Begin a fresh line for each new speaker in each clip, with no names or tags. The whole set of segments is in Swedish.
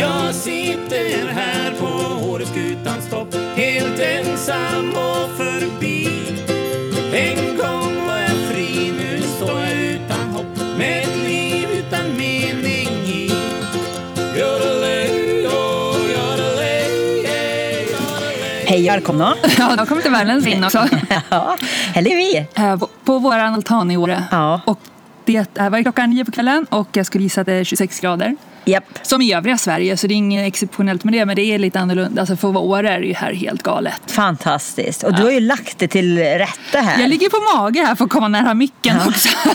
Jag sitter här på Åreskutans topp Helt ensam och förbi En gång var jag fri, nu står jag utan hopp Med ett liv utan mening i Yodelay, oh, yodelay, yeah, yodelay.
Hej och välkomna!
Ja, jag kommer till Värmlands in också.
Ja, här är vi!
Eh, På vår altan i Åre.
Ja.
Och det är var klockan nio på kvällen och jag skulle gissa att det är 26 grader.
Japp.
Som i övriga Sverige, så det är inget exceptionellt med det, men det är lite annorlunda. Alltså för att vara Åre är det ju här helt galet.
Fantastiskt! Och du har ju lagt det till rätta här.
Jag ligger på mage här för att komma nära micken också.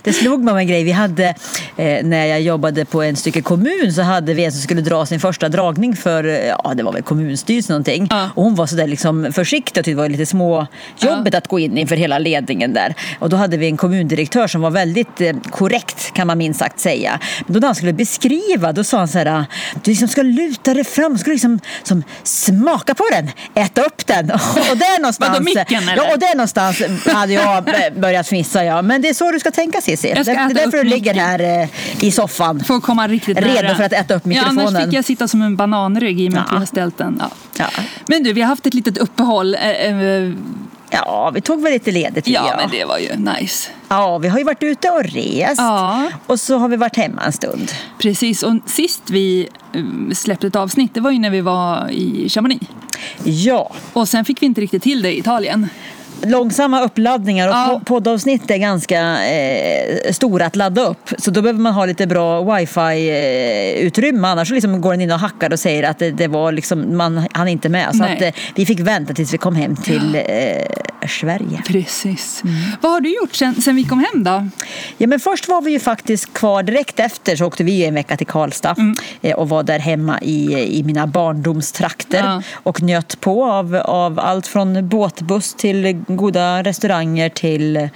det slog mig om en grej. Vi hade, eh, när jag jobbade på en stycke kommun så hade vi en som skulle dra sin första dragning för eh, ja, det var väl kommunstyrelsen någonting.
Ja.
Och hon var sådär liksom försiktig och tyckte det var lite småjobbigt att gå in inför hela ledningen där. Och då hade vi en kommundirektör som var väldigt eh, korrekt kan man minst sagt säga. Men då när han skulle beskriva då sa han så här, du liksom ska luta dig fram, ska liksom som, smaka på den, äta upp den. Och där någonstans,
micken, eller?
Ja, och där någonstans hade jag b- börjat fnissa. Ja. Men det är så du ska tänka Cissi. Det
Jag ska
det är
äta
därför
upp
du ligger här eh, i soffan.
För att komma riktigt
Redo
nära.
för att äta upp
Ja, annars
mikrofonen.
fick jag sitta som en bananrygg i och med att
Ja.
vi har ställt den. Ja.
Ja.
Men du, vi har haft ett litet uppehåll. Eh, eh,
Ja, vi tog väl lite ledigt.
Ja,
jag.
men det var ju nice.
ja, vi har ju varit ute och rest
Ja.
och så har vi varit hemma en stund.
Precis, och sist vi eh, släppte ett avsnitt, det var ju när vi var i Chamonix.
Ja,
Och sen fick vi inte riktigt till det i Italien.
långsamma uppladdningar och
Ja.
po- poddavsnitt är ganska eh, stora att ladda upp. Så då behöver man ha lite bra wifi-utrymme annars så liksom går den in och hackar och säger att det, det var liksom, man hann inte med. Så
Nej.
att, eh, vi fick vänta tills vi kom hem till eh, Sverige.
Precis. Mm. Vad har du gjort sen, sen vi kom hem då?
Ja, men först var vi ju faktiskt kvar direkt efter så åkte vi ju en vecka till Karlstad
Mm.
eh, och var där hemma i, i mina barndomstrakter
Ja.
och njöt på av, av allt från båtbuss till goda restauranger till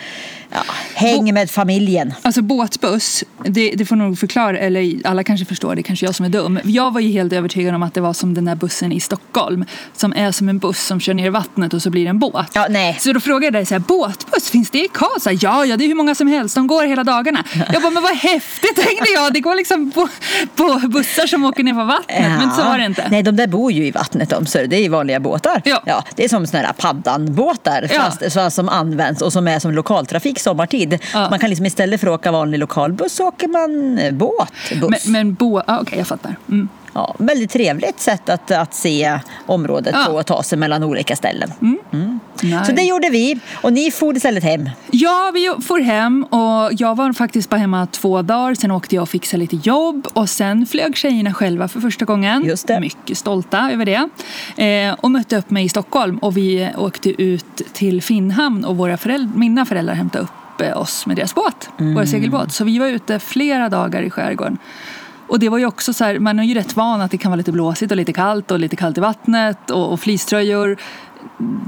ja, häng med familjen.
Alltså båtbuss, det, det får nog förklara, eller alla kanske förstår, det är kanske jag som är dum. Jag var ju helt övertygad om att det var som den där bussen i Stockholm som är som en buss som kör ner i vattnet och så blir det en båt.
Ja, nej.
Så då frågade jag dig så här, båtbuss, finns det i Karlstad? Ja, ja, det är hur många som helst, de går hela dagarna. Jag bara, men vad häftigt tänkte jag, det går liksom på, på bussar som åker ner på vattnet. Men så
Ja.
var det inte.
Nej, de där bor ju i vattnet de, så det är ju vanliga båtar.
Ja.
det är som såna här paddanbåtar
Ja.
fast, så, som används och som är som lokaltrafik sommartid.
Ja.
Man kan liksom istället för att åka vanlig lokalbuss så åker man eh, båt. Buss.
Men, men båt, ah, okej jag fattar. Mm.
Ja, väldigt trevligt sätt att, att se området
Ja. Mm.
på och ta sig mellan olika ställen.
Nice.
Så det gjorde vi och ni for istället hem.
Ja, vi får hem och jag var faktiskt bara hemma två dagar. Sen åkte jag och fixade lite jobb och sen flög tjejerna själva för första gången.
Just det.
Mycket stolta över det. Eh, och mötte upp mig i Stockholm och vi åkte ut till Finnhamn och våra föräldrar, mina föräldrar hämtade upp eh, oss med deras båt,
Mm.
vår segelbåt. Så vi var ute flera dagar i skärgården. Och det var ju också så här, man är ju rätt van att det kan vara lite blåsigt och lite kallt och lite kallt i vattnet och, och fleecetröjor.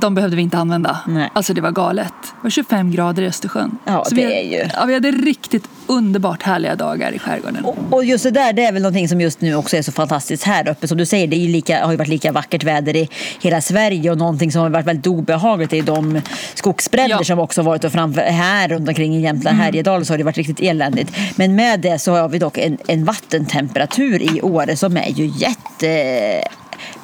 De behövde vi inte använda.
Nej.
Alltså det var galet. Det var 25 grader i Östersjön.
Ja,
vi,
det är ju-
Ja, vi hade riktigt underbart härliga dagar i skärgården.
Och- Och just det där, det är väl någonting som just nu också är så fantastiskt här uppe. Som du säger, det är ju lika, har ju varit lika vackert väder i hela Sverige och någonting som har varit väldigt obehagligt är ju de skogsbränder
Ja. Mm.
som också har varit och framför, här runt omkring i Jämtland, Härjedalen, så har det varit riktigt eländigt. Men med det så har vi dock en, en vattentemperatur i Åre som är ju jätte...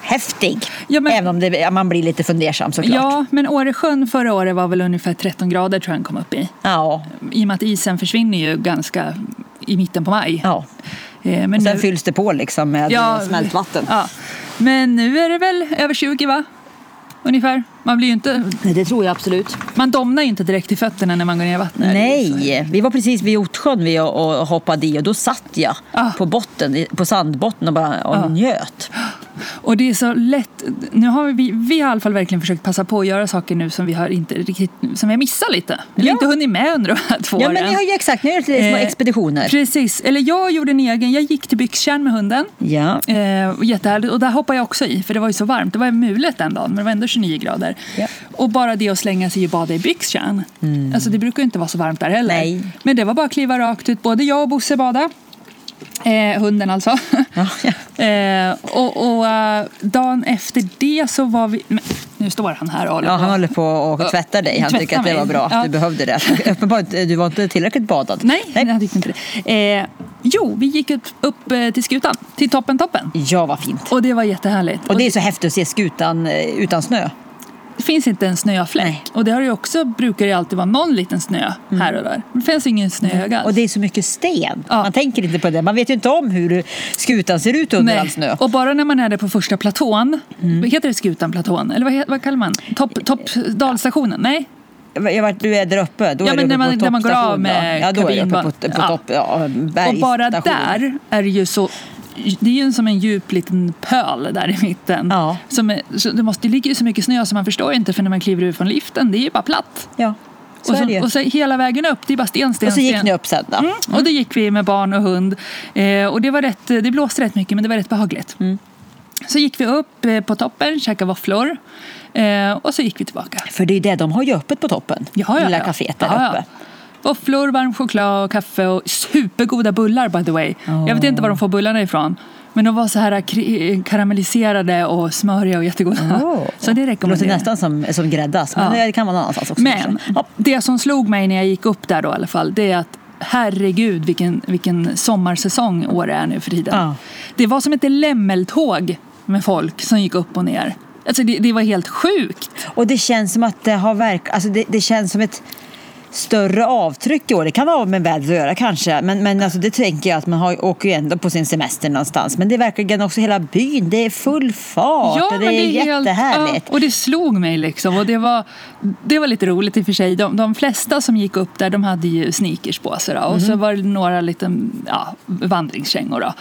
Häftig!
Ja, men-
Även om det, man blir lite fundersam såklart.
Ja, men Åresjön förra året var väl ungefär 13 grader tror jag den kom upp i.
Ja,
I och med att isen försvinner ju ganska i mitten på maj.
ja.
Eh, Men
Sen
nu-
fylls det på liksom med
Ja,
smältvatten.
Ja. Men nu är det väl över 20 va? Ungefär. Man blir ju inte
Nej, det tror jag absolut.
Man domnar ju inte direkt i fötterna när man går ner i vattnet.
Nej, vi var precis vid Otsjön vi och, och hoppade i och då satt jag
Ah.
på botten, i- på sandbotten och bara och njöt.
Och det är så lätt. Nu har vi, vi har i alla fall verkligen försökt passa på att göra saker nu som vi har inte riktigt, som vi har missat lite. Eller
Ja.
inte hunnit med under de här två
Ja,
åren.
men ni har ju exakt, ni har ju lite små
Eh,
expeditioner.
Precis. Eller jag gjorde en egen. Jag gick till Byxtjärn med hunden.
Ja.
Eh, och jättehärligt. Och där hoppade jag också i, för det var ju så varmt. Det var mulet den dagen, men det var ändå 29 grader.
Ja. Mm.
Och bara det att slänga sig i bada i Byxtjärn. Alltså det brukar ju inte vara så varmt där heller.
Nej.
Men det var bara att kliva rakt ut. Både jag och Bosse badade. Eh, hunden alltså.
Ja, ja.
Eh, och och eh, dagen efter det så var vi... Men, nu står han här och håller
Ja,
på.
han håller på och tvätta dig. Han
Tvätta
tycker att det
Ah. mig. Ah.
var bra att
Ja.
du behövde det. Uppenbarligen, du var inte tillräckligt badad.
Nej, jag tyckte inte det. Eh, Jo, vi gick upp, upp eh, till skutan, till toppen, toppen.
Ja, vad fint.
Och det var jättehärligt.
Och det är så häftigt att se skutan eh, utan snö.
Det finns inte en snöfläck.
Nej. Mm.
Och det har ju också, brukar ju alltid vara någon liten snö här och där. Det finns ingen snöhög alls.
Och det är så mycket sten.
Ja.
Man tänker inte på det. Man vet ju inte om hur skutan ser ut under all snö. Mm.
Och bara när man är där på första platån, heter det Skutanplatån? Eller vad, he- vad kallar man? Topp, topp, dalstationen? Nej?
Jag vart du är där uppe, då
Ja,
är
men
du uppe
när man-
på
när man går
toppstation,
av med
då. Ja, då är du uppe på,
kabinban-
på
Ja.
topp, ja,
Och bara
bergsstation.
där är det ju så... Det är ju som en djup liten pöl där i mitten.
Ja.
Som är, så det, måste, det ligger ju så mycket snö så man förstår ju inte för när man kliver ut från liften, det är ju bara platt.
Ja, så
och,
är det ju.
och så hela vägen upp, det är bara sten, sten,
Och så gick
sten.
ni upp sen då.
Mm. Och det gick vi med barn och hund. Eh, och det, var rätt, det blåste rätt mycket men det var rätt behagligt.
Mm.
Så gick vi upp eh, på toppen, käkade våfflor eh, och så gick vi tillbaka.
För det är ju det, de har ju öppet på toppen. Lilla kaféet där
Ja, ja.
uppe.
Våfflor, varm choklad och kaffe och supergoda bullar by the way. Jag vet inte var de får bullarna ifrån. Men de var så här kri- karamelliserade och smöriga och jättegoda.
Åh.
Så det
Det låter
rekommenderar jag.
nästan som, som gräddas, men
Ja.
det kan vara någon annanstans också.
Men
kanske. Ja.
det som slog mig när jag gick upp där då i alla fall, det är att herregud vilken, vilken sommarsäsong Åre är nu för tiden.
Ja.
Det var som ett lämmeltåg med folk som gick upp och ner. Alltså det, det var helt sjukt.
Och det känns som att det har verk... alltså det, det känns som ett större avtryck i år. Det kan ha med vädret att göra kanske, men, men alltså det tänker jag att man har, åker ju ändå på sin semester någonstans. Men det är verkligen också hela byn, det är full fart och det
men
är
helt-
jättehärligt.
ja, och det slog mig liksom. Och det, var, det var lite roligt i och för sig. De, de flesta som gick upp där de hade ju sneakers på sig. Då. Och
Mhm.
så var det några lite, ja, vandringskängor. Då.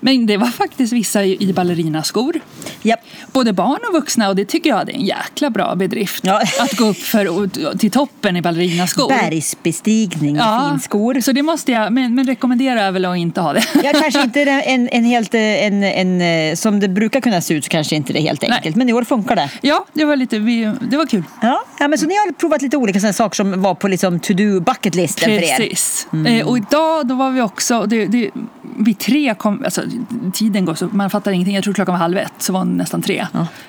Men det var faktiskt vissa i i ballerinaskor.
Japp.
Både barn och vuxna och det tycker jag det är en jäkla bra bedrift.
Ja.
Att gå upp för, och- till toppen i ballerinaskor.
Bergsbestigning,
Ja,
finskor.
Så det måste jag, men, men rekommenderar jag väl att inte ha det.
Ja, kanske inte är en, en helt, eh, en, en, eh, som det brukar kunna se ut så kanske inte det är helt enkelt, men i år funkar det.
Ja, det var, lite, vi- det var kul.
Ja, ja men så ni har provat lite olika såna saker som var på liksom to-do bucket-listen för er? Mm.
Precis. Eh, och idag då var vi också, det, det, vid tre kom, alltså tiden går så, man fattar ingenting. Jag tror klockan var halv ett, så var det nästan tre.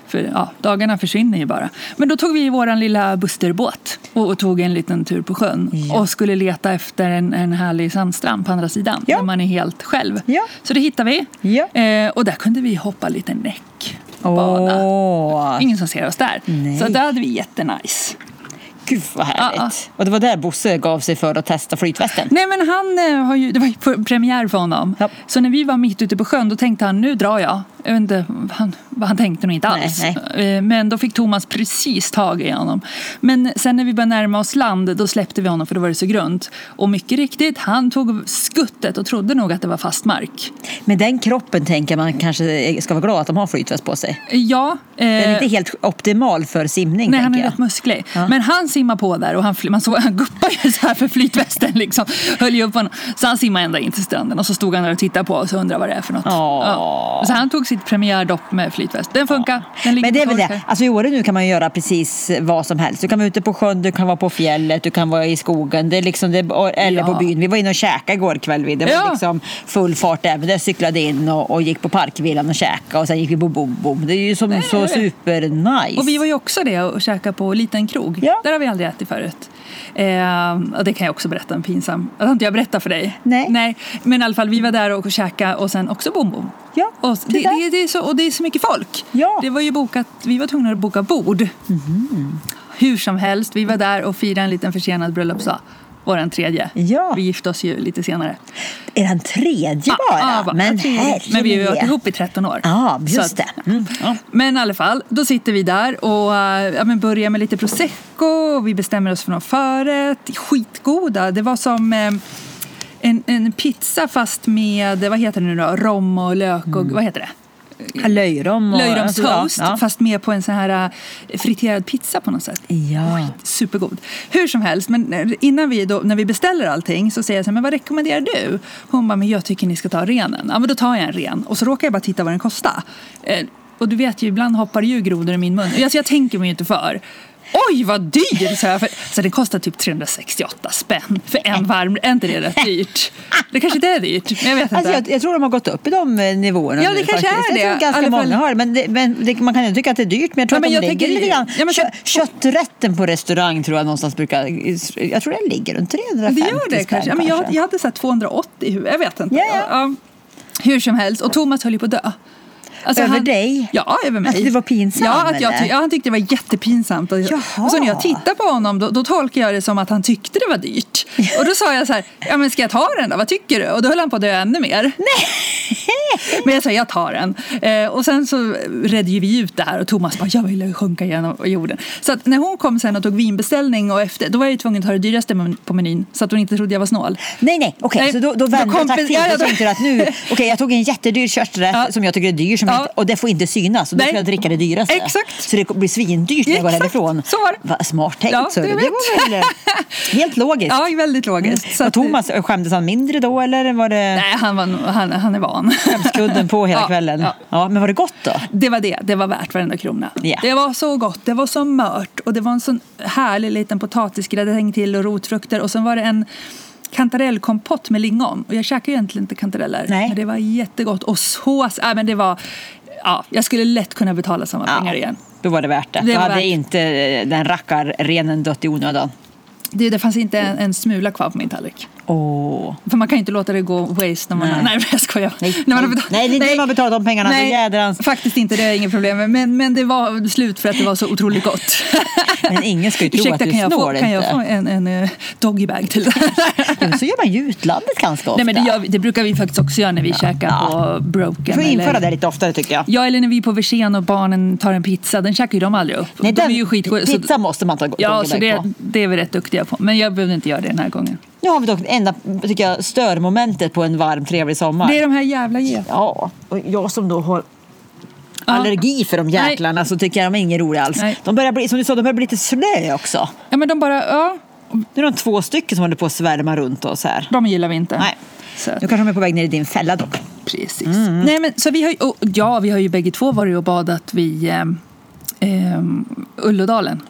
För ja, dagarna försvinner ju bara. Men då tog vi vår lilla busterbåt och, och tog en liten tur på sjön. Och skulle leta efter en, en härlig sandstrand på andra sidan,
Ja.
där man är helt själv.
Ja.
Så det hittade vi.
Ja.
Eh, och där kunde vi hoppa lite näck. Bada.
Åh,
Ingen som ser oss där.
Nej.
Så där hade vi jättenice.
gud vad härligt.
Ja,
Och det var där Bosse gav sig för att testa flytvästen.
Nej men han eh, har ju, det var ju pr- premiär för honom.
Ja.
Så när vi var mitt ute på sjön då tänkte han nu drar jag. Jag vet inte han, vad han tänkte nog inte
Nej,
alls. Eh, Men då fick Thomas precis tag i honom. Men sen när vi började närma oss land då släppte vi honom för då var det så grunt. Och mycket riktigt, han tog skuttet och trodde nog att det var fast mark.
Med den kroppen tänker man kanske ska vara glad att de har flytväst på sig.
Eh, Ja.
Den
eh,
är inte helt optimal för simning
Nej, han är
tänker jag.
rätt musklig.
Ja.
Men han simmar på där och han, fly- man såg, han guppar ju så här för flytvästen liksom. Höll ju upp honom. Så han simmade ända in till stranden och så stod han där och tittade på och så undrade vad det är för något.
Åh.
Så han tog sitt premiärdopp med flytväst. Den funkar. Den ligger
Men det är
på
väl det.
torkar.
Alltså i Åre nu kan man ju göra precis vad som helst. Du kan vara ute på sjön, du kan vara på fjället, du kan vara i skogen det är liksom det, eller
Ja.
på byn. Vi var inne och käkade igår kväll. vi. Det var
Ja.
liksom full fart även. Jag cyklade in och, och gick på parkvillan och käkade och sen gick vi på bom bom. Det är ju som så
jag vet.
supernice.
Och vi var ju också det och käkade på liten krog.
Ja.
Där har vi aldrig ätit förut. Ehm, och det kan jag också berätta en pinsam... Det har inte jag berättat för dig.
Nej.
Nej. Men i alla fall, vi var där och käkade och sen också bom bom.
Ja,
och,
det
det,
där.
det, det är så, och det är så mycket folk.
Ja. Mhm.
Det var ju bokat, vi var tvungna att boka bord. Hur som helst, vi var där och firade en liten försenad bröllopsdag. Vår tredje.
Ja.
Vi gifte oss ju lite senare.
Är han tredje bara?
Ja, bara,
men
tredje. ah, Men vi har ju varit
herre.
ihop i 13 år.
Ja,
Så
just
att-
det. Mm. Ja.
men i alla fall, då sitter vi där och eh, ja, men börjar med lite prosecco. Och vi bestämmer oss för någon förrätt. Skitgoda. Det var som eh, en, en pizza fast med, vad heter det nu då, rom och lök och vad heter det?
Löjrom Mm. och...
Löjromstoast,
Ja, ja.
fast med på en sån här eh, friterad pizza på något sätt.
ja.
Supergod. Hur som helst, men eh, innan vi då, när vi beställer allting så säger jag så här, men vad rekommenderar du? Hon bara, men jag tycker ni ska ta renen. Ja, men då tar jag en ren. Och så råkar jag bara titta vad den kostar. Eh, och du vet ju, ibland hoppar ju grodor i min mun. Alltså, jag tänker mig ju inte för. Oj vad dyr! Så, jag, för, så det kostar typ 368 spänn för en varm. Är inte det rätt dyrt? Det kanske inte är dyrt, men jag vet inte.
Alltså jag, jag tror de har gått upp i de eh, nivåerna
Ja, det
nu,
kanske
faktiskt.
är
Jag tror
det.
ganska
I alla fall-
många har det, men, det, men det, man kan ju tycka att det är dyrt. Men jag tror
Ja, men
att de ligger
jag tänker-
lite grann.
ja, men
Kö,
kö-
kötträtten på restaurang tror jag någonstans brukar... Jag tror den ligger runt 350
Det gör det
spänn,
kanske. Ja, men jag, jag hade så här 280 i huvudet. Jag vet inte.
Ja, ja.
Hur som helst. Och Thomas höll ju på att dö. Alltså,
Över dig?
Ja, över mig.
Att du var pinsam,
Ja, att jag, ty-
eller?
ja han tyckte det var jättepinsamt. Och,
Jaha.
och så när jag tittade på honom då, då tolkade jag det som att han tyckte det var dyrt. Och då sa jag så här, ja men ska jag ta den då? Vad tycker du? Och då höll han på att dö ännu mer. Nej. Men jag sa, jag tar den. Eh, och sen så redde ju vi ut det här och Thomas bara, jag vill ju sjunka genom jorden. Så att när hon kom sen och tog vinbeställning och efter, då var jag ju tvungen att ta det dyraste men- på menyn så att hon inte trodde jag var snål.
Nej, nej, okej,
Nej,
så då, då
då
vände jag
kompen-
taktik.
ja, ja,
Då
då-
tänkte du att nu, okej, jag tog en jättedyr kötträtt
Ja.
som jag tycker är dyr som
Ja.
inte, och det får inte synas. Och då
Nej.
ska jag dricka det dyraste.
Exakt.
Så det blir svindyrt när jag går
Exakt,
härifrån.
så var det.
Va, smart tänkt,
Ja,
så
du
det, det
vet.
var väl helt logiskt.
Ja, väldigt logiskt.
Så
att-
Mm. Thomas, eh, skämdes han mindre då eller var det
Nej, han, var, nog- han, han är van.
skämskudden på hela
Ja,
kvällen?
ja.
Ja. men var det gott då?
Det var det. Det var värt varenda krona.
Ja.
Det var så gott. Det var så mört. Och det var en sån härlig liten potatisgrädde till och rotfrukter. Och sen var det en kantarellkompott med lingon. Och jag käkar ju egentligen inte kantareller.
Nej.
Men det var jättegott. Och sås. Äh, men det var, ja, jag skulle lätt kunna betala samma pengar igen.
Då var det värt det.
Det
då
var
hade
värt.
inte eh, den rackarrenen dött i onödan.
Det, det fanns inte en, en smula kvar på min tallrik.
Åh.
För man kan ju inte låta det gå waste när man
Nej.
har... Nej, men jag skojar.
Nej,
När man har
nej.
betalat-
Nej, det är inte när man betalar de pengarna,
Nej,
då jädrans.
Faktiskt inte, det är inget problem med. Men, men det var slut för att det var så otroligt gott.
Men ingen ska ju tro
Ursäkta,
att du
kan jag
snår
få, Kan jag
inte.
få en, en eh, doggybag till det här?
Jo, men Så gör man ju i utlandet ganska ofta.
Nej, men det, gör vi, det brukar vi faktiskt också göra när vi käkar
Ja.
på Broken.
Du får införa
eller,
det lite oftare tycker jag.
Ja, eller när vi är på Versén och barnen tar en pizza. Den käkar ju de aldrig upp.
Nej,
de
den,
är ju skitgoda. så-
pizza måste man ta
Ja,
tåget
så det,
på.
det är vi rätt duktiga på. Men jag behövde inte göra det den här gången.
Nu har vi dock enda tycker jag, störmomentet på en varm trevlig sommar.
Det är de här jävla getingarna.
Ja, och jag som då har allergi för de
Nej.
jäklarna så tycker jag de är inget roliga alls.
Nej.
De börjar bli, som du sa, de börjar bli lite snö också.
Ja, men de bara... Ja,
Nu är de två stycken som håller på att svärma runt oss här.
de gillar vi inte.
Nej.
Så att-
Nu Mm. kanske de är på väg ner i din fälla dock.
Precis. Nej, men, så vi har, ju- och, ja, vi har ju bägge två varit och badat vid ehm, ehm, Ullådalen.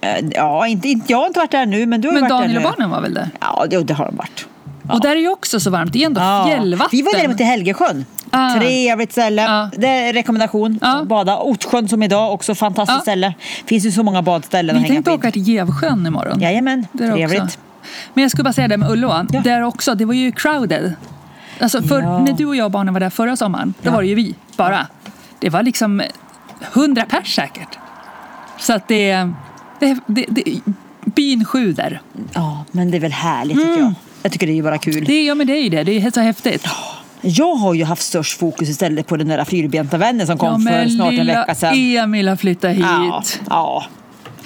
Eh, Ja, inte, inte, jag har inte varit där nu, men du har ju
Men
varit där
Daniel och
nu.
barnen var väl där?
Ja, det, det har de varit.
Och där är ju också så varmt. Det är ändå
Ja.
fjällvatten.
Vi var däremot i Helgesjön.
Ah.
Trevligt ställe.
Ja.
Det är rekommendation.
Ja.
Bada. Ortsjön som idag också fantastiskt
Ja.
ställe. finns ju så många badställen
Ah. Vi
att hänga
tänkte
på.
åka till Gevsjön imorgon.
Jajamän,
Där
trevligt.
också. Men jag skulle bara säga det med Ullån.
Ja.
Där också, det var ju crowded. Alltså för,
Ja.
När du och jag och barnen var där förra sommaren, då var det ju vi bara. Det var liksom hundra pers säkert. Så att det... det, det, det byn sjuder.
Ja, men det är väl härligt tycker jag. Jag tycker det är ju bara kul.
Mm. Det, ja, men det är ju det. Det är så häftigt.
Jag har ju haft störst fokus istället på den där fyrbenta vännen som
Ja,
kom för
men
snart en
lilla
vecka sedan.
Emil har flyttat hit.
ja, ja.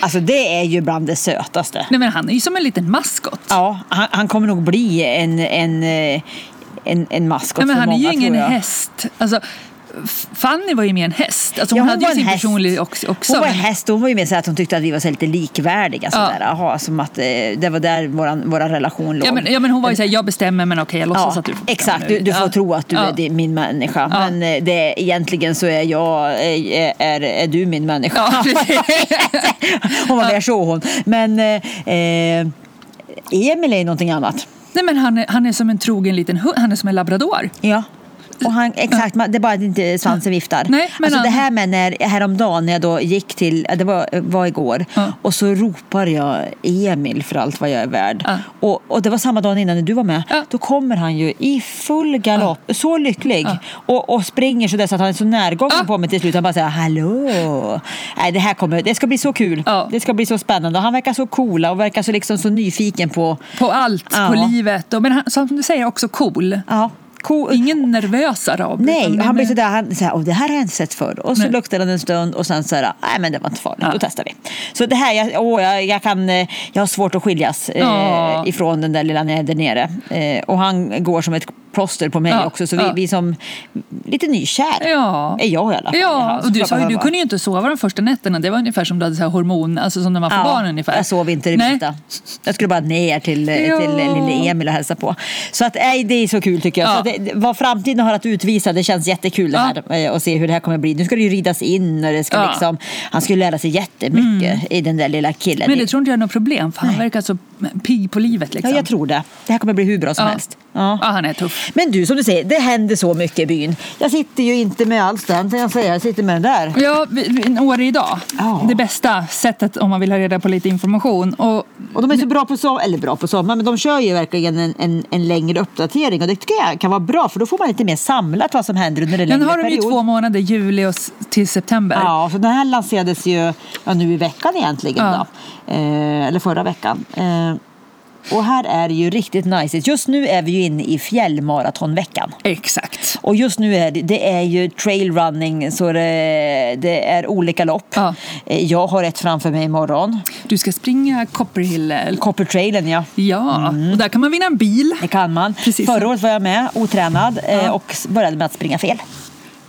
Alltså det är ju bland det sötaste.
Nej, men han är ju som en liten maskot.
Ja, han, han kommer nog bli en, en, eh, en, en maskot
Nej, men
för
han är
många,
ju ingen
tror jag.
häst. Alltså, F- Fanny var ju mer en häst. Alltså,
Ja,
hon, hade
var
ju
en
sin
häst.
personlighet också. också
Hon var en
men-
häst och hon var ju med så här att hon tyckte att vi var så här lite likvärdiga.
Ja.
Sådär. Aha, som att eh, det var där vår våra relation låg.
ja, men, ja, men hon var ju såhär, jag bestämmer men okej, jag låtsas
Ja,
att du får bestämma
exakt,
nu.
du, du får
Ja.
tro att du
Ja.
är din- min människa.
Ja.
Men eh, det, egentligen så är jag, är, är, är du min människa.
Ja, precis.
hon var mer så hon. Men eh, eh, Emil är ju någonting annat.
Nej, men han är, han är som en trogen liten hund. Han är som en labrador.
Ja. Och han, exakt, man- det är bara att inte svansen viftar.
Nej, men
alltså det
han-
här med när, häromdagen när jag då gick till, ja, det var, var igår,
Ja.
och så ropar jag Emil för allt vad jag är värd.
Ja.
Och, och det var samma dag innan när du var med.
Ja.
Då kommer han ju i full galopp, så lycklig, och, och springer så, där så att han är så närgången
Ja.
på mig till slut. Han bara säger hallå. Nej, det här kommer, det ska bli så kul.
Ja.
Det ska bli så spännande. Och han verkar så coola och verkar så, liksom, så nyfiken på,
På allt,
Ja.
på livet. Och, men han, som du säger, också cool.
ja, cool,
Ingen nervös arab.
Nej,
utan
och han
en-
blir sådär, han såhär, Åh, det här har jag inte sett förr. Och så
Nej.
luktade den en stund och sen såhär, nej men det var inte farligt,
Ja.
då testar vi. Så det här, jag, åh, jag, jag, kan, eh, jag har svårt att skiljas eh,
Ja.
ifrån den där lilla när jag är där nere. Eh, och han går som ett plåster på mig
Ja,
också. Så vi,
ja.
vi som lite nykär
Ja.
är jag i alla fall.
Ja,
så
och du
klart
sa ju
jag
du
var.
kunde ju inte sova de första nätterna. Det var ungefär som du hade så här hormon, alltså som när man får
Ja,
barn ungefär.
Jag sov inte det
Nej.
minsta. Jag skulle bara ner till, eh,
Ja.
till lille Emil och hälsa på. Så att, nej, det är så kul tycker jag.
Ja.
Så att det, vad framtiden har att utvisa, det känns jättekul det
Ja.
här. eh, Och se hur det här kommer bli. Nu ska det ju ridas in och det ska
Ja. Mm.
liksom, han ska ju lära sig jättemycket i den där lilla killen.
Men det tror inte jag är något problem, för han verkar så pigg på livet
ja,
liksom.
jag tror det. Det här kommer bli hur bra som
Ja.
helst.
Ja, han är tuff.
Men du, som du säger, det händer så mycket i byn. Jag sitter ju inte med alls den, kan jag säga. Jag sitter med den där.
Ja, vi- vi- en Åre idag.
Ja.
Det bästa sättet om man vill ha reda på lite information. Och
Och de är så bra på sommaren, eller bra på sommaren, men de kör ju verkligen en, en, en längre uppdatering och det tycker jag kan vara bra för då får man lite mer samlat vad som händer under en
den
längre
har de ju
period.
två månader, juli och s- till september.
Ja, för den här lanserades ju ja, nu i veckan egentligen
Ja.
då. Eh, eller förra veckan. Eh, och här är det ju riktigt nice. Just nu är vi ju inne i fjällmaratonveckan.
Exakt.
Och just nu är det, det är ju trailrunning, så det, det är olika lopp.
Ja.
Eh, Jag har ett framför mig imorgon.
Du ska springa Copperhill. eller-
Coppertrailen, ja.
Ja,
Mm.
och där kan man vinna en bil.
Det kan man.
Precis.
Förra året var jag med, otränad, eh, och s- började med att springa fel.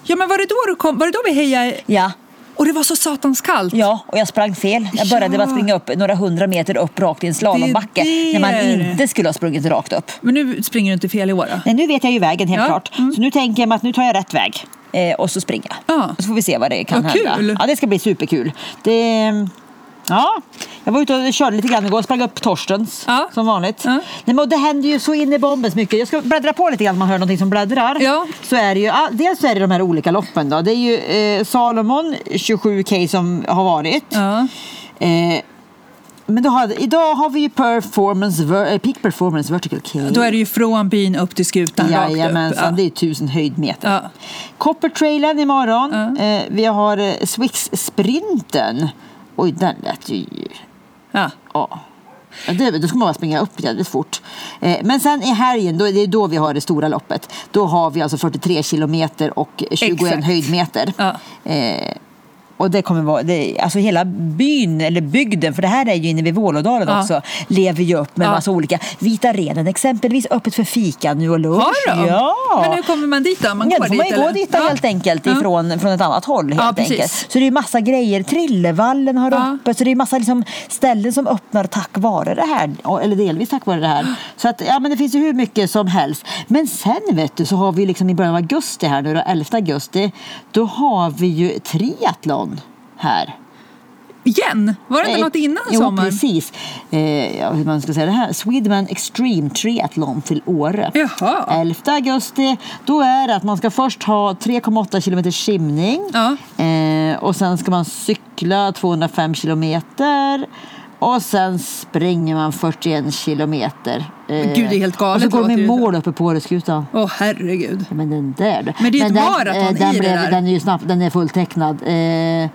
Ja, men var det då, du kom, var det då vi hejade?
Ja,
Och det var så satans kallt.
ja, och jag sprang fel. Jag började med att
Ja.
springa upp några hundra meter upp rakt i en slalombacke när
Det är
man
det.
inte skulle ha sprungit rakt upp.
Men nu springer du inte fel i år då?
Nej, nu vet jag ju vägen helt
Ja, Mm.
klart. Så nu tänker jag mig att nu tar jag rätt väg. Eh, och så springer jag.
Ja.
Och Så får vi se vad det kan
Vad
hända.
kul.
Ja, det ska bli superkul. Det, ja, jag var ute och körde lite grann igår. Sprang upp Torstens
Ja.
som vanligt.
Ja.
Nej, men och det händer ju så in i bombens mycket. Jag ska bläddra på lite grann om man hör någonting som bläddrar.
Ja.
Så är det ju, ja, dels så är det de här olika loppen då. Det är ju eh, Salomon 27K som har varit.
Ja.
Eh, men då har, idag har vi ju performance, ver, eh, peak performance vertical kill.
Då är det ju från byn upp till skutan rakt upp.
Jajamensan, det är
Ja.
ju tusen höjdmeter.
Ja.
Coppertrailen imorgon.
Ja.
Eh, vi har eh, Swix-sprinten. Oj, den lät ju...
Ja.
Ja. Ja, Det, då ska man bara springa upp jävligt fort. Eh, men sen i helgen, då, det är då vi har det stora loppet. Då har vi alltså 43 kilometer och 21
Exakt.
höjdmeter.
Ja.
Eh, och det kommer vara, det, alltså hela byn, eller bygden, för det här är ju inne vid Vålådalen
Ja.
också, lever ju upp med
Ja.
massa olika. Vita Renen exempelvis, öppet för fika nu och lunch.
Har de?
Ja!
Men hur kommer man dit då? Man
Ja,
går
då får
dit,
man ju gå
eller?
dit då,
Ja.
helt enkelt
Ja.
ifrån, från ett annat håll. Helt
Ja, precis.
enkelt. Så det är ju massa grejer. Trillevallen har
Ja.
öppet. Så det är massa liksom, ställen som öppnar tack vare det här. Eller delvis tack vare det här. Så att, ja, men det finns ju hur mycket som helst. Men sen vet du så har vi liksom i början av augusti här nu då, 11 augusti. Då har vi ju triathlon här.
Igen? Var det inte
Eh,
något innan
jo,
sommaren?
precis. Eh, ja, hur man ska säga det här. Swedman Extreme Triathlon till Åre.
Jaha.
11 augusti. Då är det att man ska först ha 3,8 kilometer simning.
Ja.
Eh, och sen ska man cykla 205 kilometer. Och sen springer man 41 kilometer. Eh,
Gud, det är helt galet,
Och så går de
låter
i
ju.
mål uppe på Åreskutan.
Åh herregud.
Men den där du.
Men det är ju ett
den,
maraton
eh,
i
den
det
blev-
där.
Den är ju snabbt, den är fulltecknad. Eh,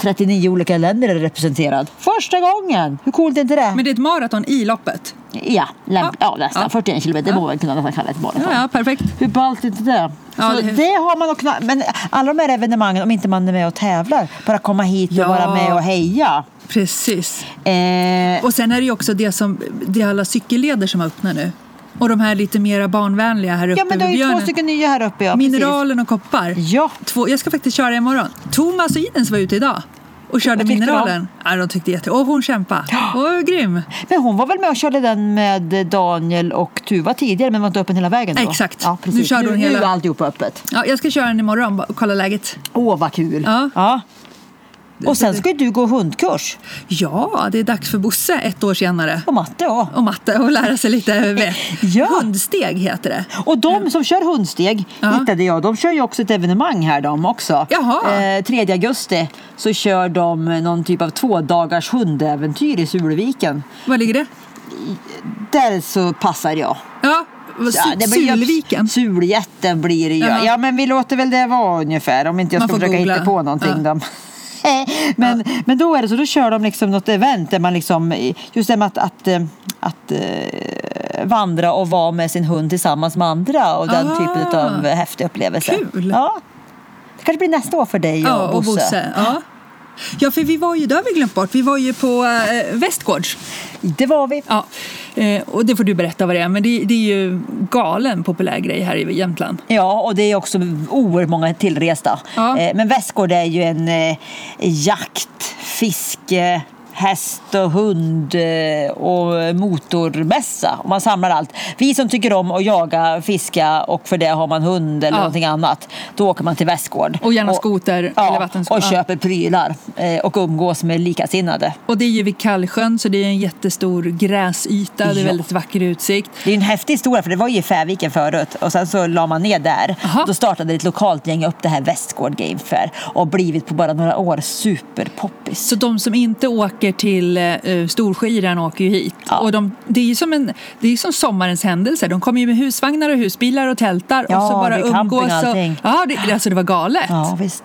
39 olika länder är representerad. Första gången! Hur coolt är inte det?
Men det är ett maraton i loppet?
Ja, lämp- ja.
Ja.
nästan.
Ja.
41 kilometer, det
Ja.
må man kunna nästan kalla ett maraton.
Ja, ja perfekt.
Hur ballt är inte det?
Ja,
så det...
det-
har man att kunna, men alla de här evenemangen, om inte man är med och tävlar, bara komma hit och
Ja.
vara med och heja.
Precis.
Eh,
Och sen är det ju också det som, det är alla cykelleder som öppnar nu. Och de här lite mera barnvänliga här uppe
ja, men du har
vid
ju två
björnen.
stycken nya här uppe. Ja,
Mineralen och koppar.
Precis. Ja,
Två, jag ska faktiskt köra imorgon. Thomas och Ines var ute idag och körde
Vad tyckte
mineralen. Ja, de tyckte jätte... Och hon kämpade. Och grym.
men hon var väl med och körde den med Daniel och Tuva tidigare, men var inte öppen hela vägen då?
Exakt.
Ja, precis.
Nu körde
nu,
hon
nu
hela-
är alltihopa öppet.
Ja, jag ska köra den imorgon och kolla läget.
Åh, vad kul.
Ja.
Och sen ska ju du gå hundkurs
Ja, det är dags för Bosse ett år senare.
på matte. Ja.
Och matte och lära sig lite vett.
Ja.
Hundsteg heter det.
Och de som kör hundsteg
Ja.
hittade jag, de kör ju också ett evenemang här de också.
Jaha.
Eh, 3 augusti så kör de någon typ av två dagars hundäventyr i Sulviken.
Var ligger det?
Där så passar jag.
Ja,
det
ja
blir ju-
Sulviken.
Suljätten blir det ju.
Jaha.
Ja men vi låter väl det vara ungefär om inte jag
Man
ska
får
försöka
googla.
hitta på någonting.
Ja.
Då. men, men då är det så, då kör de liksom något event där man liksom, just det med att, att, eh, att eh, vandra och vara med sin hund tillsammans med andra och den
Ah.
typen av häftig upplevelse.
Kul.
Ja. Det kanske blir nästa år för dig och
Ja, och
Bosse.
Bosse. Ja. Ja, för vi var ju, det har vi glömt bort, vi var ju på äh, Västgårds.
Det var vi.
Ja, eh, och det får du berätta vad det är, men det, det är ju galen populär grej här i Jämtland.
Ja, och det är också oerhört många tillresta.
Ja.
Eh, Men Västgård är ju en eh, jakt, fiske, häst och hund eh, och motormässa. Och man samlar allt. Vi som tycker om att jaga, fiska och för det har man hund eller
Ja.
någonting annat, då åker man till Västgård.
Och gärna skoter
ja,
eller vattenskoter.
och köper prylar eh, och umgås med likasinnade.
Och det är ju vid Kallsjön, så det är en jättestor gräsyta, det är
Ja.
väldigt vacker utsikt.
Det är en häftig historia för det var ju i Färviken förut och sen så la man ner där.
Aha.
Då startade ett lokalt gäng upp det här Västgård Game Fair och har blivit på bara några år superpoppis.
Så de som inte åker till uh, Storskyran åker ju hit.
Ja.
Och de, det, är ju som en, det är som sommarens händelse. De kommer ju med husvagnar och husbilar och tältar. och
Ja,
så bara
det är camping och
umgås.
allting.
ja, det, alltså det var galet.
Ja visst.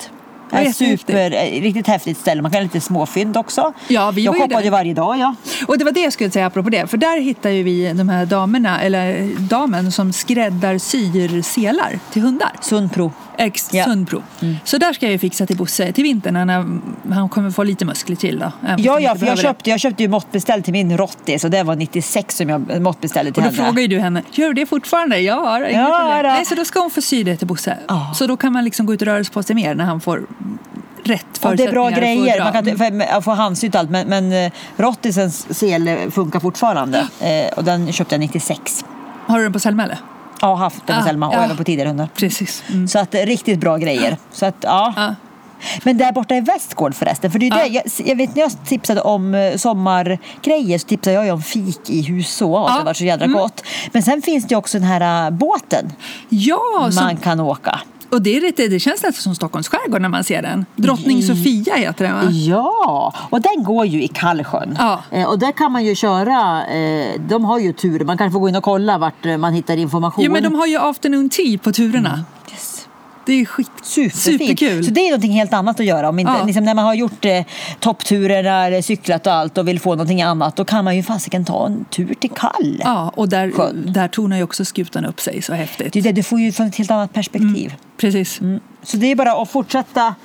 Det
Ja,
är
jättehäftigt.
super, eh, riktigt häftigt ställe. Man kan göra lite småfynd också.
Ja, vi
jag
var ju
shoppade
där.
ju varje dag. Ja.
Och det var det jag skulle säga apropå det. För där hittar ju vi de här damerna, eller damen som skräddarsyr selar till hundar.
Sundpro.
Ex
Ja. Mm.
Sundbro. Så där ska jag ju fixa till Bosse till vintern. Han, har- han kommer få lite muskler till då. även
Ja,
om
ja, för
inte
jag
behöver det.
köpte, jag köpte ju måttbeställ till min Rottis och det var 96 som jag måttbeställde till
Och då
henne.
frågar ju du henne, gör du det fortfarande? Ja, det är inga
Ja,
problem.
då.
Nej, så då ska hon få sy det till Bosse.
Ja.
Så då kan man liksom gå ut och röra sig på sig mer när han får rätt
Ja, det är
förutsättningar.
bra
och får
grejer.
dra.
Man kan t- för- jag får handsytt allt. Men, men eh, Rottisens sele funkar fortfarande. Eh, och den köpte jag 96.
Mm. Har du den på Selma eller?
Ja, haft den på
Ah,
Selma och
ja.
även på tidigare hundar.
Precis. Mm.
Så att eh, riktigt bra grejer. Så att, ja.
Ja.
Men där borta i Västgård förresten. För det är ju
Ja.
det, jag, jag vet när jag tipsade om eh, sommargrejer så tipsade jag ju om fik i Huså.
Ja. Mm.
Det var så jädra gott. Men sen finns det ju också den här eh, båten
Ja, så,
man kan åka.
och det, är lite, det känns nästan som Stockholms skärgård när man ser den. Drottning
Mm.
Sofia heter den va?
Ja, och den går ju i Kallsjön.
Ja.
Eh, Och där kan man ju köra, eh, de har ju tur, man kan få gå in och kolla vart eh, man hittar information.
Jo, men de har ju afternoon tea på turerna. Det är skit...
Mm. Superfint.
Superkul.
Så det är någonting helt annat att göra. Om inte,
Ja.
liksom, när man har gjort eh, toppturerna, eller cyklat och allt och vill få någonting annat, då kan man ju fasiken ta en tur till Kall.
Ja, och där,
Skön.
där tornar ju också skutan upp sig så häftigt.
Det är det, du får ju från ett helt annat perspektiv.
Mm.
Mm.
Precis.
Så det är bara att fortsätta.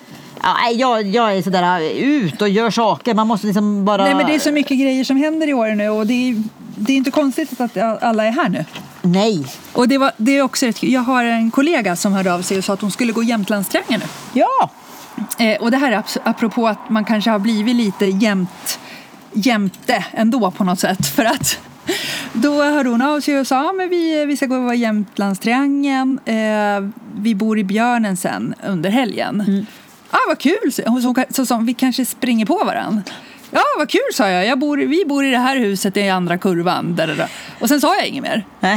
Ja, nej, jag, jag är sådär eh, ut och gör saker. Man måste liksom bara...
Nej, men det är så mycket grejer som händer i år nu och det är, det är inte konstigt att alla är här nu.
Nej.
Och det, var, det är också rätt, kul. jag har en kollega som hörde av sig och sa att hon skulle gå Jämtlandsträngen nu.
Ja.
Eh, och det här är abs- apropå att man kanske har blivit lite jämt, jämte ändå på något sätt. För att då hörde hon av sig och sa att vi, vi ska gå över Jämtlandstriangeln. Eh, vi bor i Björnen sen under helgen. Ah, vad kul! sa- Hon sa, så, sa hon, vi kanske springer på varandra. Ja, vad kul sa jag. jag bor, i- vi bor i det här huset i andra kurvan. Där, där, där. Och sen sa jag inget mer.
Nej.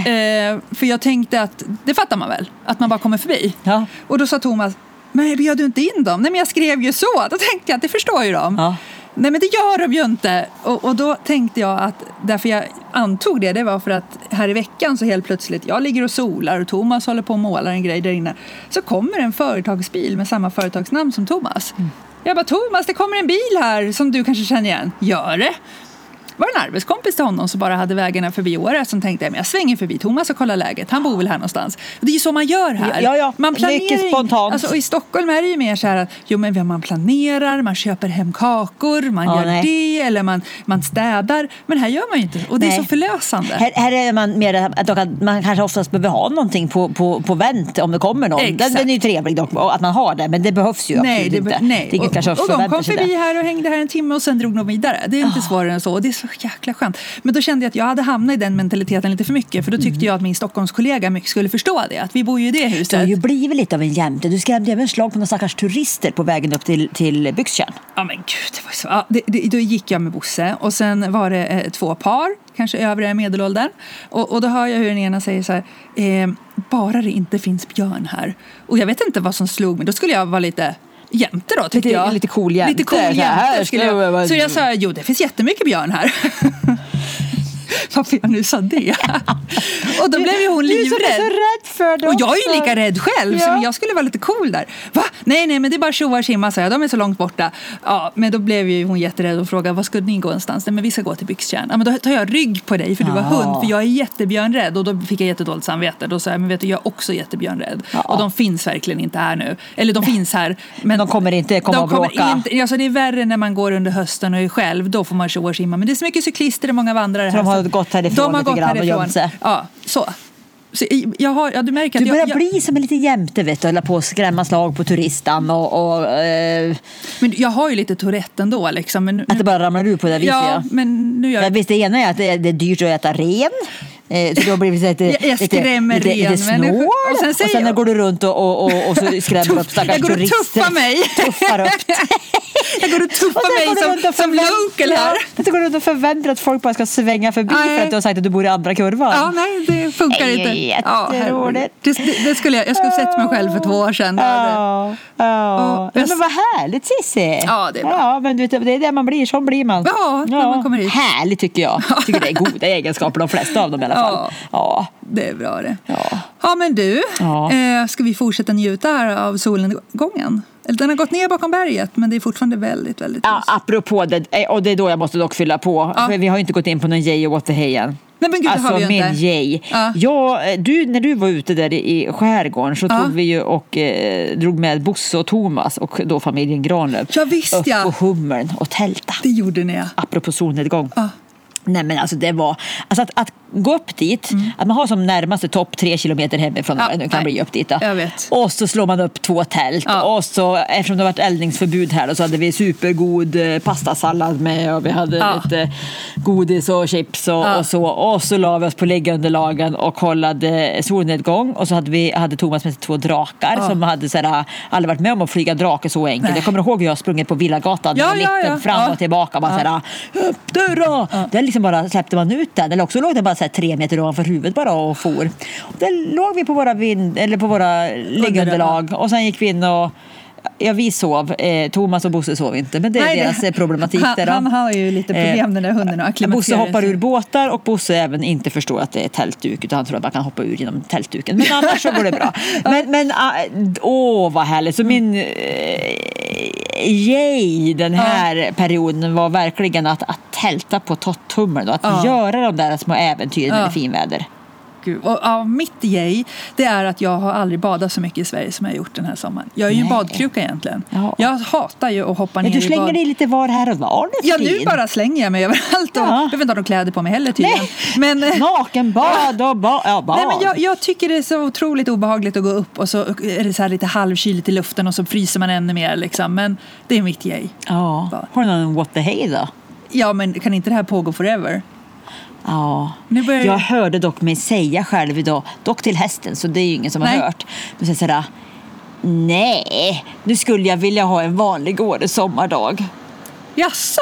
Eh, för jag tänkte att det fattar man väl, att man bara kommer förbi.
Ja.
Och då sa Thomas, men jag bjöd du inte in dem? Nej men jag skrev ju så. Då tänkte jag att det förstår ju de.
Ja.
Nej men det gör de ju inte. Och, och då tänkte jag att, därför jag antog det, det var för att här i veckan så helt plötsligt, jag ligger och solar och Thomas håller på och målar en grej där inne. Så kommer en företagsbil med samma företagsnamn som Thomas.
Mm.
Jag bara, Thomas det kommer en bil här som du kanske känner igen. Gör det? var en arbetskompis till honom som bara hade vägarna förbi Åre som tänkte "Ja, men jag svänger förbi Thomas och kollar läget. Han bor väl här någonstans. Det är ju så man gör här.
Ja, ja.
Man planerar
Mycket
ju-
spontant.
Alltså, och I Stockholm är det ju mer så här att jo, men man planerar, man köper hem kakor, man
Ja,
gör
nej.
det eller man, man städar. Men här gör man ju inte Och det är
Nej.
så förlösande.
Här, här är man mer att man- man kanske oftast behöver ha någonting på, på, på vänt om det kommer någon. Den,
Exakt.
den är ju trevlig dock, och att man har det, men det behövs ju
Nej,
absolut
det,
inte.
nej.
Det är inget kanske
och, och de
förväntar
kom
sig
förbi
det.
här och hängde här en timme och sen drog de vidare. Det är
Ah.
inte svårare än så. Och det är så jäkla skönt. Men då kände jag att jag hade hamnat i den mentaliteten lite för mycket. För då
Mm.
tyckte jag att min Stockholmskollega mycket skulle förstå det. Att vi bor ju i det
Du har
huset.
ju blivit lite av en jämte. Du skrämde även slag på några stackars turister på vägen upp till, till Byxtjärn.
Ja men gud, det var så... Ja, det, det, då gick jag med Bosse och sen var det eh, två par, kanske övre medelåldern. Och, och då hör jag hur den ena säger så här, eh, bara det inte finns björn här. Och jag vet inte vad som slog mig, då skulle jag vara lite jämte då tyckte
Lite-
jag.
lite cool jämte,
Lite cool
så här,
jämte
här
skulle
ska jag vara-
jag. Så jag sa, jo det finns jättemycket björn här. varför jag nu sa det. Och då blev ju hon
Du som är så
livrädd.
rädd för det
Och jag är ju
också.
lika rädd själv,
Ja.
så jag skulle vara lite cool där. Va? Nej, nej, men det är bara tjoa och tjimma, sa jag. De är så långt borta. Ja, men då blev ju hon jätterädd och frågade, var skulle ni gå någonstans? Nej, men vi ska gå till Byxtjärn. Ja, men då tar jag rygg på dig, för du var
Ja.
hund. För jag är jättebjörnrädd. Och då fick jag jättedåligt samvete. Då sa jag, men vet du, jag är också jättebjörnrädd.
Ja.
Och de finns verkligen inte här nu. Eller de finns här, men
De kommer inte komma
de
och
kommer
bråka.
Inte, alltså det är värre när man går under hösten och är själv. Då får man tjoa och tjimma. Men det är så mycket cyklister och många vandrare.
Så
här,
de har
så-
gått härifrån
De har
lite
gått
grann och
härifrån.
gömt sig.
Ja, så. så i- jag har, ja, du märker att
Du börjar
jag, jag,
bli som en liten jämte vet du, hålla på och skrämma slag på turistan och, och eh,
men jag har ju lite Tourette ändå. Liksom, men, nu-
att det bara ramlar ur på det viset.
ja, men nu gör
Men visst, det ena är att det är, det är dyrt att äta ren. Eh, Så du har blivit lite,
Jag- jag skrämmer
lite, lite, lite
ren
snål.
människor. Och
Och
sen
sen,
säger jag-
går du runt och, och, och, och så skrämmer du upp stackars
jag går och
turister.
tuffar mig.
Tuffar upp dig.
Jag går och tuffar
sen går
mig
du runt
som,
och
som
förvänt-
local här.
Ja, Du går runt och förväntar att folk bara ska svänga förbi
Nej.
för att du har sagt att du bor i andra kurvan.
Ja, nej, det funkar
Nej,
inte. Ja,
jätteroligt.
herregud. det, det skulle jag, jag skulle sett mig själv för två år sedan.
Ja, ja.
Och-
Ja, men vad härligt Cissi!
Ja, det är bra.
Ja, men du vet, det är det man blir, sån blir man.
Ja, när man kommer hit.
Härligt tycker jag. Tycker det är goda egenskaper, de flesta av dem i alla fall. Ja.
Det är bra det.
Ja.
ja men du,
Ja.
eh, ska vi fortsätta njuta här av solnedgången? Eller Den har gått ner bakom berget, men det är fortfarande väldigt, väldigt
Ja,
ljust.
apropå det, eh, och det är då jag måste dock fylla på,
Ja.
för vi har ju inte gått in på någon Jay och Återhej än.
Nej, men gud, det har
alltså
vi ju
min
inte.
Jay.
Ja.
Ja, eh, du, när du var ute där i i skärgården så
Ja.
tog vi ju och eh, drog med Bosse och Thomas och då familjen Granlöf
Ja, visst,
upp
ja.
på Hummern och tälta.
Det gjorde ni, ja.
apropå solnedgång.
Ja.
Nej men alltså det var, alltså att, att gå upp dit, att man har som närmaste topp tre kilometer hemifrån,
Mm. Ja,
ja, nu kan
nej.
bli upp dit då.
Jag vet.
Och så slår man upp två tält
Ja.
och så eftersom det har varit eldningsförbud här då, så hade vi supergod eh, pastasallad med och vi hade
Ja.
lite godis och chips och,
Ja.
och så. Och så la vi oss på liggunderlagen och kollade solnedgång och så hade, vi, hade Thomas med sig två drakar
Ja.
som hade så här, aldrig varit med om att flyga drake så enkelt.
Nej.
Jag kommer ihåg hur jag har sprungit på Villagatan
Ja,
ja,
ja,
liten,
ja.
fram
Ja.
och tillbaka. Bara så här, upp du då! Den liksom bara släppte man ut den. Eller också låg den bara så här tre meter ovanför huvudet bara och for. Där låg vi på våra, vind, eller på våra liggunderlag och sen gick vi in och Ja, vi sov. Eh, Thomas och Bosse sov inte, men det är
Nej, det-
deras eh, problematik.
Han-
där, då. Eh,
han har ju lite problem, den där hunden, att acklimatisera
Bosse hoppar
sig.
ur båtar och Bosse även inte förstår att det är tältduk, utan han tror att man kan hoppa ur genom tältduken. Men annars så går det bra. Men, men ah, åh vad härligt. Så min eh, yay den här perioden var verkligen att, att tälta på Totthummeln och att
Ja.
göra de där små äventyren när det
Ja.
är finväder.
Gud. Och, ja, mitt yay, det är att jag har aldrig badat så mycket i Sverige som jag har gjort den här sommaren. Jag är ju
Nej.
badkruka egentligen.
Ja.
Jag hatar ju att hoppa
Men
ner
du
i bad.
slänger dig lite var här och var nu för
Ja, nu
tiden.
bara slänger jag mig överallt. Och,
Ja.
Jag behöver inte ha några kläder på mig heller tydligen.
Nej.
Men, eh,
Nakenbad och ba- ja, bad.
Nej, men jag, jag tycker det är så otroligt obehagligt att gå upp och så är det så här lite halvkyligt i luften och så fryser man ännu mer. Liksom. Men det är mitt yay.
ja. Har du någon what the hey då?
Ja, men kan inte det här pågå forever?
Ja.
Nu börjar
Jag
det-
hörde dock mig säga själv idag, dock till hästen, så det är ju ingen som
Nej.
har hört. Men sen sådär, nej, nu skulle jag vilja ha en vanlig årets sommardag.
Jaså?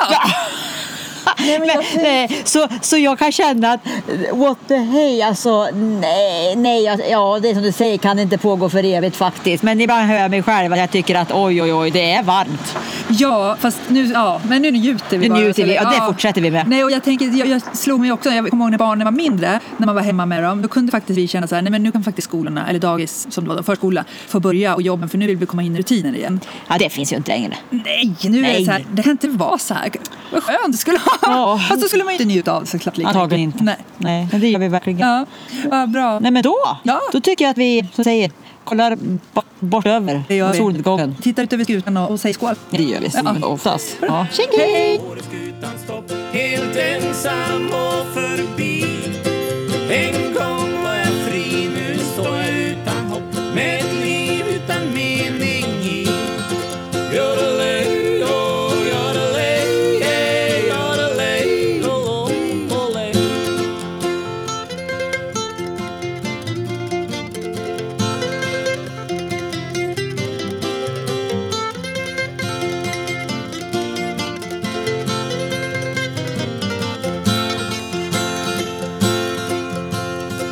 men, nej, så, så jag kan känna att eh, what the hey, alltså nej, nej, jag- ja det är som du säger kan inte pågå för evigt faktiskt. Men ibland hör jag mig själv att jag tycker att oj, oj, oj, det är varmt.
Ja, fast nu, ja, men nu njuter
Nu
vi bara.
njuter
Så
vi, ja, det fortsätter vi med.
Nej, och jag, tänker, jag, jag slog mig också, jag kommer ihåg när barnen var mindre, när man var hemma med dem, då kunde faktiskt vi känna så här, nej men nu kan faktiskt skolorna, eller dagis som det var då, förskola, få börja och jobben för nu vill vi komma in i rutiner igen.
Ja, det finns ju inte längre.
Nej, nu är det
Nej.
så här, det kan inte vara så här. Vad skönt det skulle vara.
Ja.
Fast då skulle man ju inte njuta av det såklart. lika
Antagligen
mycket.
inte.
Nej.
nej, men det gör vi verkligen.
Ja, ja bra.
Nej men då,
Ja.
då tycker jag att vi som säger, kollar bo- bort över
Det gör vi.
solnedgången.
Titta ut över skutan och, och säg skål.
Det gör vi som
Ja.
oftast. Ja. Tjing hej!
Årets utan stopp, helt ensam och förbi En gång var jag fri, nu står jag utan hopp Med ett liv utan mening i Yodelej, oh, yodelej, hey, yodelej, oh, oh, olej.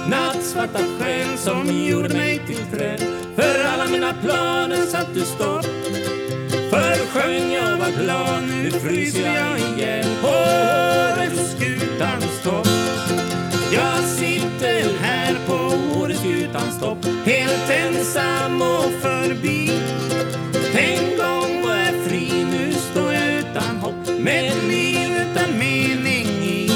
Nattsvarta sken som gjorde mig till träd För alla mina planer satt du stopp För sjöng jag var glad, nu fryser jag igen På årets skutans topp ensam och förbi En gång var jag fri, nu står jag utan hopp Med ett liv utan mening i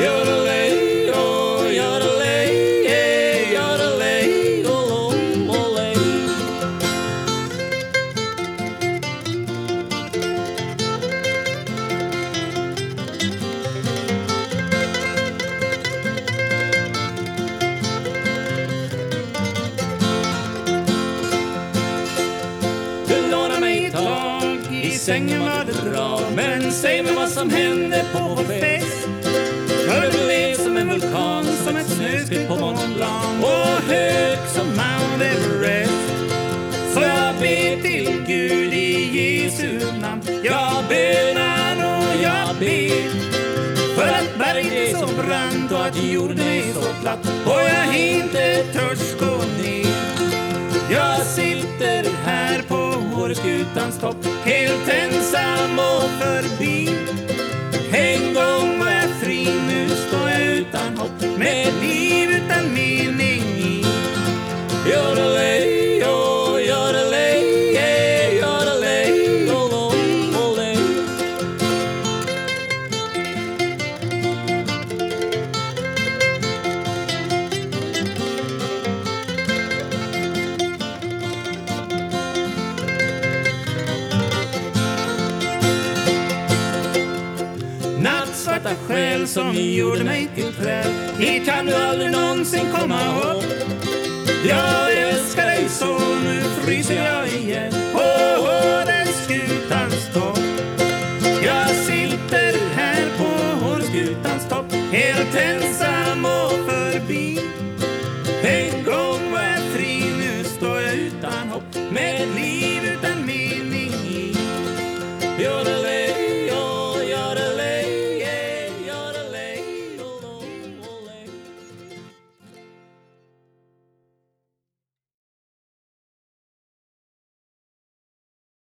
Yodelay, oh, yodelay, yeah, yodelay, oh, oh, olay. Du lånar mig ett tag, i sängen var det bra Men säg mig vad som hände på vår fest För du blev som en vulkan, som ett snöskred på Mont Blanc Och hög som Mount Everest Så jag ber till Gud i Jesu namn Jag bönar och jag ber för att berget är så brant och att jorden är så platt och jag inte törs gå ner jag sitter här på Åreskutans topp Helt ensam och förbi En gång var jag fri, nu står jag utan hopp Med ett liv utan mening i Yodelay, oh, yodelay, yeah, yodelay, oh, oh, olay. Nattsvarta själ som gjorde mig till träd Hit kan du aldrig någonsin komma upp Jag älskar dig så, nu fryser jag igen oh, Oh,